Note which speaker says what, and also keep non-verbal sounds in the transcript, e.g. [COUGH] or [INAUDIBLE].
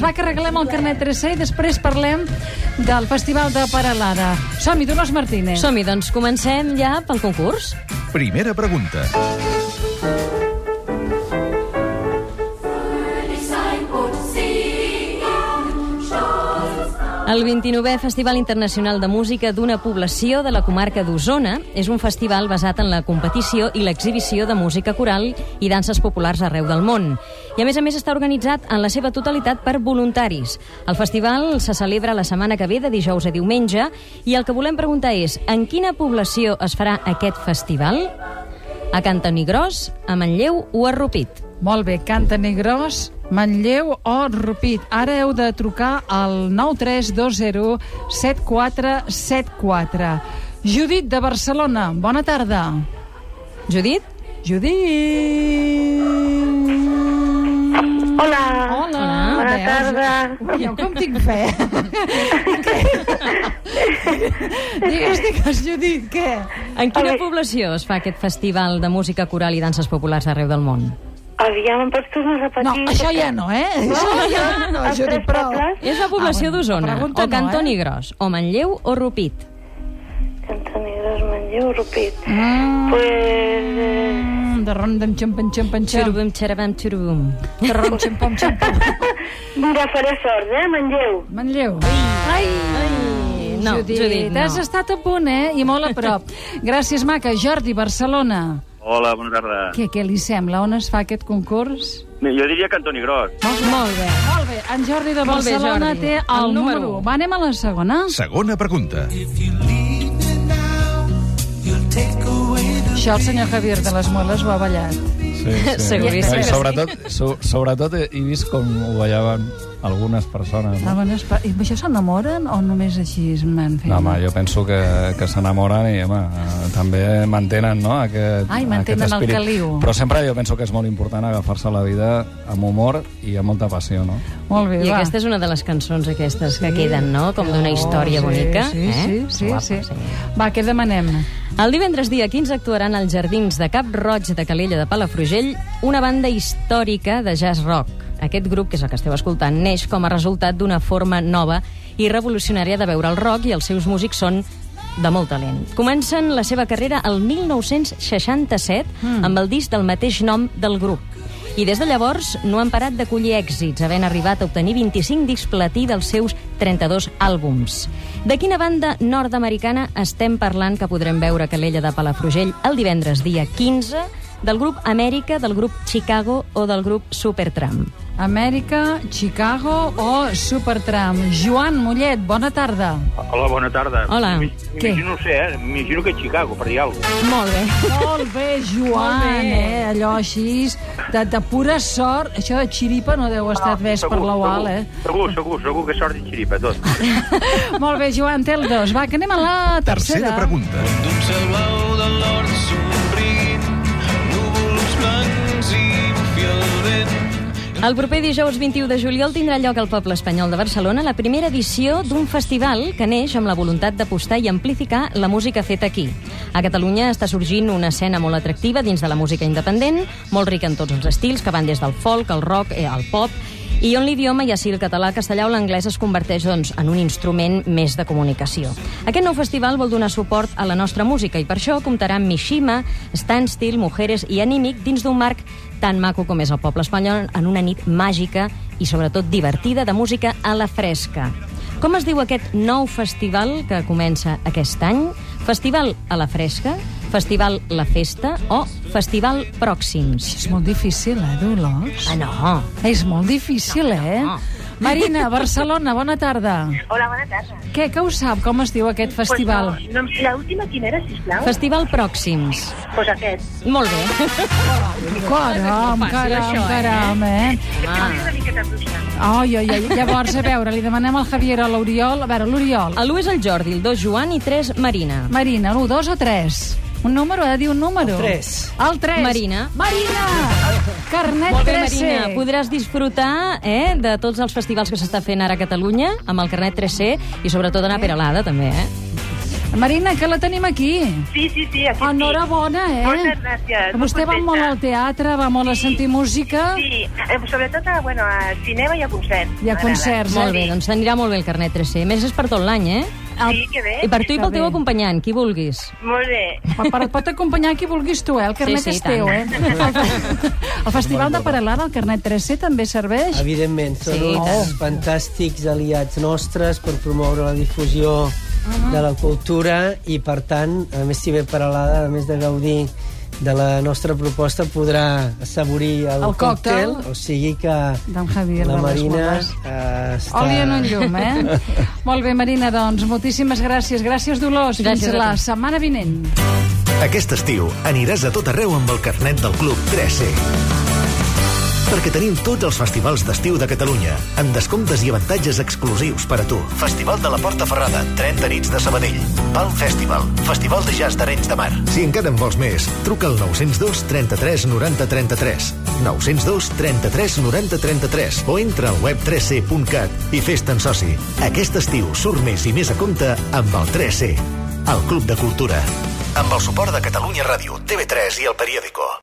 Speaker 1: va, que arreglem el carnet 3C i després parlem del Festival de Paralada. Som-hi, Dolors Martínez.
Speaker 2: Som-hi, doncs comencem ja pel concurs.
Speaker 3: Primera pregunta.
Speaker 2: El 29è Festival Internacional de Música d'una població de la comarca d'Osona és un festival basat en la competició i l'exhibició de música coral i danses populars arreu del món. I a més a més està organitzat en la seva totalitat per voluntaris. El festival se celebra la setmana que ve de dijous a diumenge i el que volem preguntar és en quina població es farà aquest festival? A Cantoni Gros, a Manlleu o a Rupit?
Speaker 1: Molt bé, canta Negros, Manlleu o Rupit. Ara heu de trucar al 93201 7474. Judit de Barcelona, bona tarda.
Speaker 2: Judit?
Speaker 1: Judit...
Speaker 4: Hola.
Speaker 1: Hola,
Speaker 4: Bona
Speaker 1: veus?
Speaker 4: tarda.
Speaker 1: Ui, jo com tinc fe.
Speaker 4: [LAUGHS]
Speaker 1: digues, digues, Judit, què?
Speaker 2: En quina població es fa aquest festival de música coral i danses populars arreu del món?
Speaker 4: Aviam, em pots tornar a repetir?
Speaker 1: No, això ja no, eh? Això ja no,
Speaker 4: Els
Speaker 1: Judit,
Speaker 4: tres
Speaker 1: prou.
Speaker 4: pobles,
Speaker 2: És la població
Speaker 1: Ah, bueno, la
Speaker 2: d'Osona,
Speaker 1: pregunta no,
Speaker 2: o Cantoni
Speaker 1: eh?
Speaker 2: Gros, o Manlleu o Rupit.
Speaker 4: Cantanegres, Manlleu, Rupit.
Speaker 1: Mm.
Speaker 4: Pues... Eh,
Speaker 1: Mm, de ron, d'en xum, pen, xum, pen, xum.
Speaker 2: Xurubum, xarabam, xurubum.
Speaker 1: De ron, xum, pom, xum, pom.
Speaker 4: mira, faré sort, eh, Manlleu?
Speaker 1: Manlleu. Ai,
Speaker 2: No, Judit, no.
Speaker 1: has estat a punt, eh? I molt a
Speaker 2: [LAUGHS]
Speaker 1: prop. Gràcies, maca. Jordi, Barcelona.
Speaker 5: Hola, bona tarda.
Speaker 1: Què, què li sembla? On es fa aquest concurs?
Speaker 5: Bé, Jo diria que Antoni Gros.
Speaker 2: Molt bé.
Speaker 1: Ah, Molt bé, en Jordi de
Speaker 2: Molt bé,
Speaker 1: Barcelona
Speaker 2: Jordi.
Speaker 1: té el,
Speaker 2: El número
Speaker 1: número 1.
Speaker 2: u.
Speaker 1: Va, anem a la segona.
Speaker 3: Segona pregunta.
Speaker 1: Això el senyor Javier de les Moles ho ha ballat.
Speaker 6: Sí,
Speaker 1: [LAUGHS]
Speaker 6: sí.
Speaker 2: Seguríssim.
Speaker 6: No, i sobretot, so, sobretot he he vist com ho ballaven algunes persones.
Speaker 1: Ah,
Speaker 6: No?
Speaker 1: bueno, espa... I amb això s'enamoren o només així es van fent?
Speaker 6: No, home, jo penso que, que s'enamoren i, home, eh, també mantenen, no?, aquest,
Speaker 1: Ai, mantenen
Speaker 6: aquest
Speaker 1: el
Speaker 6: espírit.
Speaker 1: caliu.
Speaker 6: Però sempre jo penso que és molt important agafar-se la vida amb humor i amb molta passió, no?
Speaker 1: Molt bé,
Speaker 2: I
Speaker 1: va. Oh,
Speaker 2: aquesta és una de les cançons aquestes que queden, no?, com d'una història
Speaker 1: sí,
Speaker 2: bonica.
Speaker 1: Sí,
Speaker 2: eh?
Speaker 1: sí,
Speaker 2: Guapa,
Speaker 1: sí, sí. Va, què demanem?
Speaker 2: El divendres dia 15 actuaran als jardins de Cap Roig de Calella de Palafrugell una banda històrica de jazz rock. Aquest grup, que és el que esteu escoltant, neix com a resultat d'una forma nova i revolucionària de veure el rock i els seus músics són de molt talent. Comencen la seva carrera el 1967 amb el disc del mateix nom del grup. I des de llavors no han parat d'acollir èxits, havent arribat a obtenir 25 discs platí dels seus 32 àlbums. De quina banda nord-americana estem parlant que podrem veure a Calella de Palafrugell el divendres dia 15 del grup Amèrica, del grup Chicago o del grup Supertramp?
Speaker 1: Amèrica, Chicago o Supertram? Joan Mollet, bona tarda.
Speaker 5: Hola, bona tarda.
Speaker 2: Hola.
Speaker 5: M'imagino, no sé, eh? M'imagino que Chicago, per dir alguna cosa.
Speaker 2: Molt bé.
Speaker 1: Molt bé, Joan,
Speaker 2: Molt bé.
Speaker 1: eh? Allò així, de, de pura sort. Això de xiripa no deu estar ves per la UAL, eh?
Speaker 5: Segur, segur, segur que sort i xiripa,
Speaker 1: [LAUGHS]
Speaker 5: tot.
Speaker 1: Molt bé, Joan, té el dos. Va, que anem a la tercera.
Speaker 3: Tercera pregunta.
Speaker 7: d'un cel blau de l'hort somrient, núvols blancs i bufi el vent.
Speaker 2: El proper dijous 21 de juliol tindrà lloc al Poble Espanyol de Barcelona la primera edició d'un festival que neix amb la voluntat d'apostar i amplificar la música feta aquí. A Catalunya està sorgint una escena molt atractiva dins de la música independent, molt rica en tots els estils, que van des del folk, el rock, eh, el pop, i on l'idioma, ja sigui el català, el castellà o l'anglès, es converteix doncs, en un instrument més de comunicació. Aquest nou festival vol donar suport a la nostra música i per això comptarà amb Mishima, Standstill, Mujeres i Anímic dins d'un marc tan maco com és el poble espanyol en una nit màgica i sobretot divertida de música a la fresca. Com es diu aquest nou festival que comença aquest any? Festival a la fresca, Festival La Festa o Festival Pròxims?
Speaker 1: És molt difícil, eh, Dolors?
Speaker 2: Ah, no.
Speaker 1: És molt difícil, eh?
Speaker 2: No.
Speaker 1: Marina, Barcelona, bona tarda.
Speaker 8: Hola, bona tarda.
Speaker 1: Què, que ho sap, com es diu aquest festival?
Speaker 8: Pues no, no, L'última quina era, sisplau?
Speaker 2: Festival Pròxims.
Speaker 8: Doncs pues aquest.
Speaker 2: Molt bé.
Speaker 1: Caram,
Speaker 2: Fàcil,
Speaker 1: caram,
Speaker 2: això, eh?
Speaker 1: caram, eh?
Speaker 8: Ah. Una miqueta bruixa.
Speaker 1: Ai, ai, ai. Llavors, a veure, li demanem al Javier, a l'Oriol... A veure, l'Oriol.
Speaker 2: El 1 és el Jordi, el 2 Joan i 3 Marina.
Speaker 1: Marina, l'1, 2 o 3? Un número, ha de dir un número. El 3. El 3.
Speaker 2: Marina.
Speaker 1: Marina! Carnet E.
Speaker 2: Molt bé,
Speaker 1: 3
Speaker 2: Marina, podràs disfrutar eh, de tots els festivals que s'està fent ara a Catalunya amb el carnet 3C i sobretot anar a Peralada, també, eh?
Speaker 1: Marina, que la tenim aquí.
Speaker 8: Sí, sí, sí, aquí
Speaker 1: Enhorabona, eh?
Speaker 8: Moltes gràcies, molt
Speaker 1: Vostè va
Speaker 8: contenta.
Speaker 1: molt al teatre, va molt a sentir música
Speaker 8: sí. Sí, eh, sobretot a, bueno, a cinema i a concerts.
Speaker 1: i a
Speaker 8: M'agrada.
Speaker 1: concerts.
Speaker 2: Molt bé,
Speaker 1: eh?
Speaker 2: doncs anirà molt bé el carnet 3C. A més, és per tot l'any, eh?
Speaker 8: Sí, que bé.
Speaker 2: I per tu i
Speaker 1: Que
Speaker 2: pel teu
Speaker 1: bé.
Speaker 2: acompanyant, qui vulguis.
Speaker 8: Molt bé.
Speaker 1: Pa- pa- pot acompanyar qui vulguis tu, eh? El carnet
Speaker 2: sí,
Speaker 1: és teu,
Speaker 2: tant.
Speaker 1: eh?
Speaker 2: [LAUGHS]
Speaker 1: El Festival de Paralada, el carnet 3C, també serveix?
Speaker 9: Evidentment, són
Speaker 2: Sí, i
Speaker 9: uns
Speaker 2: tant.
Speaker 9: fantàstics aliats nostres per promoure la difusió
Speaker 1: Mhm.
Speaker 9: de la cultura i, per tant, a més, si ve Paralada, a més de gaudir de la nostra proposta, podrà assaborir el,
Speaker 1: El còctel.
Speaker 9: O sigui que
Speaker 1: D'en Javier
Speaker 9: la
Speaker 1: López
Speaker 9: Marina
Speaker 1: Borràs.
Speaker 9: eh, està...
Speaker 1: Oli en un llum,
Speaker 2: [LAUGHS]
Speaker 1: eh? Molt bé, Marina, doncs, moltíssimes gràcies. Gràcies, Dolors.
Speaker 2: Gràcies a
Speaker 1: Fins la
Speaker 2: tu.
Speaker 1: setmana vinent.
Speaker 10: Aquest estiu aniràs a tot arreu amb el carnet del Club E. 3C. Perquè tenim tots els festivals d'estiu de Catalunya, amb descomptes i avantatges exclusius per a tu. Festival de la Porta Ferrada, 30 nits de Sabadell, Palm Festival, Festival de Jazz d'Arenys de Mar. Si encara en vols més, truca al 902 33 90 33, 902 33 90 33 o entra al web 3c.cat i fes-te'n soci. Aquest estiu surt més i més a compte amb el 3C, el Club de Cultura. Amb el suport de Catalunya Ràdio, TV3 i El Periódico.